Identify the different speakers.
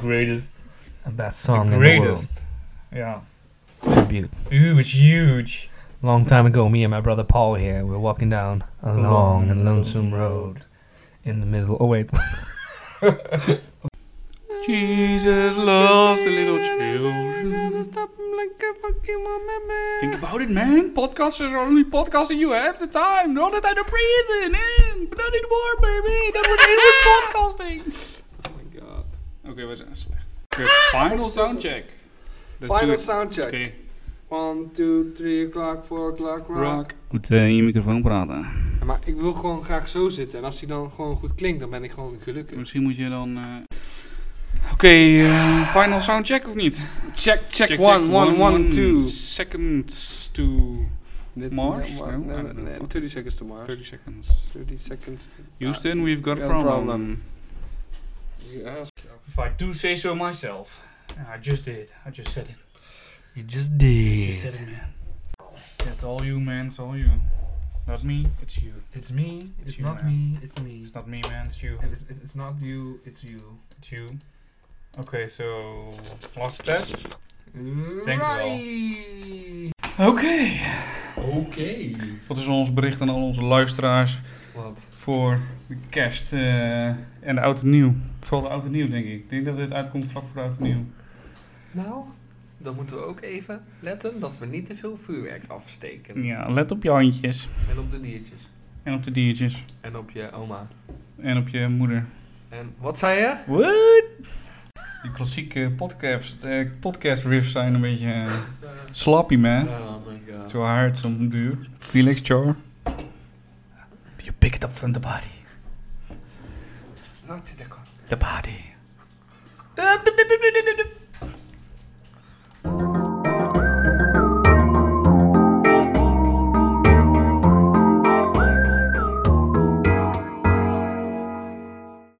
Speaker 1: greatest,
Speaker 2: Best song
Speaker 1: the
Speaker 2: in the world.
Speaker 1: greatest. Yeah.
Speaker 2: Tribute.
Speaker 1: Ooh, it's huge.
Speaker 2: Long time ago, me and my brother Paul here, we were walking down a long and lonesome road in the middle. Oh, wait.
Speaker 3: Jesus loves the little children. Think about it, man. Podcasts are only podcasting you have the time. All the time to breathing in. But not anymore, baby. That wordt in with podcasting. Oh my god. Oké, we zijn slecht. Oké, final soundcheck. Let's do
Speaker 4: Final
Speaker 3: it.
Speaker 4: soundcheck.
Speaker 3: Oké,
Speaker 4: One, two, three o'clock, four o'clock, rock.
Speaker 3: Rock. Moet eh, in je microfoon praten.
Speaker 4: Ja, maar ik wil gewoon graag zo zitten. En als die dan gewoon goed klinkt, dan ben ik gewoon gelukkig.
Speaker 3: Misschien moet je dan... eh, Oké, eh, final soundcheck of niet?
Speaker 4: Check, check, one, one, one, two.
Speaker 3: Seconds to...
Speaker 4: Dit-
Speaker 3: Mars?
Speaker 4: ja,
Speaker 3: No,
Speaker 4: maar-
Speaker 3: I
Speaker 4: nee,
Speaker 3: don't know.
Speaker 4: nee, 30 seconds to Mars.
Speaker 3: 30 seconds.
Speaker 4: 30 seconds to...
Speaker 3: Houston, we've got a
Speaker 4: got a problem.
Speaker 3: problem.
Speaker 4: Ja, als-
Speaker 3: If I do say so myself. And I just did. I just said it.
Speaker 2: You just
Speaker 3: Just said
Speaker 2: did.
Speaker 3: it, man. That's all you, man. It's all you. Not me. It's you.
Speaker 2: It's me.
Speaker 3: It's you, man.
Speaker 2: me. It's me.
Speaker 3: It's not me, man. It's you.
Speaker 2: it's, it's not you. It's you.
Speaker 3: It's you. Okay, so last test.
Speaker 2: Thank
Speaker 3: Right.
Speaker 2: you.
Speaker 3: Oké. Wat is ons bericht aan al onze luisteraars
Speaker 4: Wat?
Speaker 3: voor de kerst eh, en de oud en nieuw? Vooral de oud en nieuw, denk ik. Ik denk dat dit uitkomt vlak voor de oud en nieuw.
Speaker 4: Nou, dan moeten we ook even letten dat we niet te veel vuurwerk afsteken.
Speaker 3: Ja, let op je handjes.
Speaker 4: En op de diertjes.
Speaker 3: En op de diertjes.
Speaker 4: En op je oma.
Speaker 3: En op je moeder.
Speaker 4: En wat zei je?
Speaker 3: What? Die klassieke podcast, eh, podcast riffs zijn een beetje eh, slappy, man.
Speaker 4: Oh my god.
Speaker 3: Zo hard, zo duur. Relax, Char. You pick it up from the body.
Speaker 4: Laat je daar komen.
Speaker 3: The body.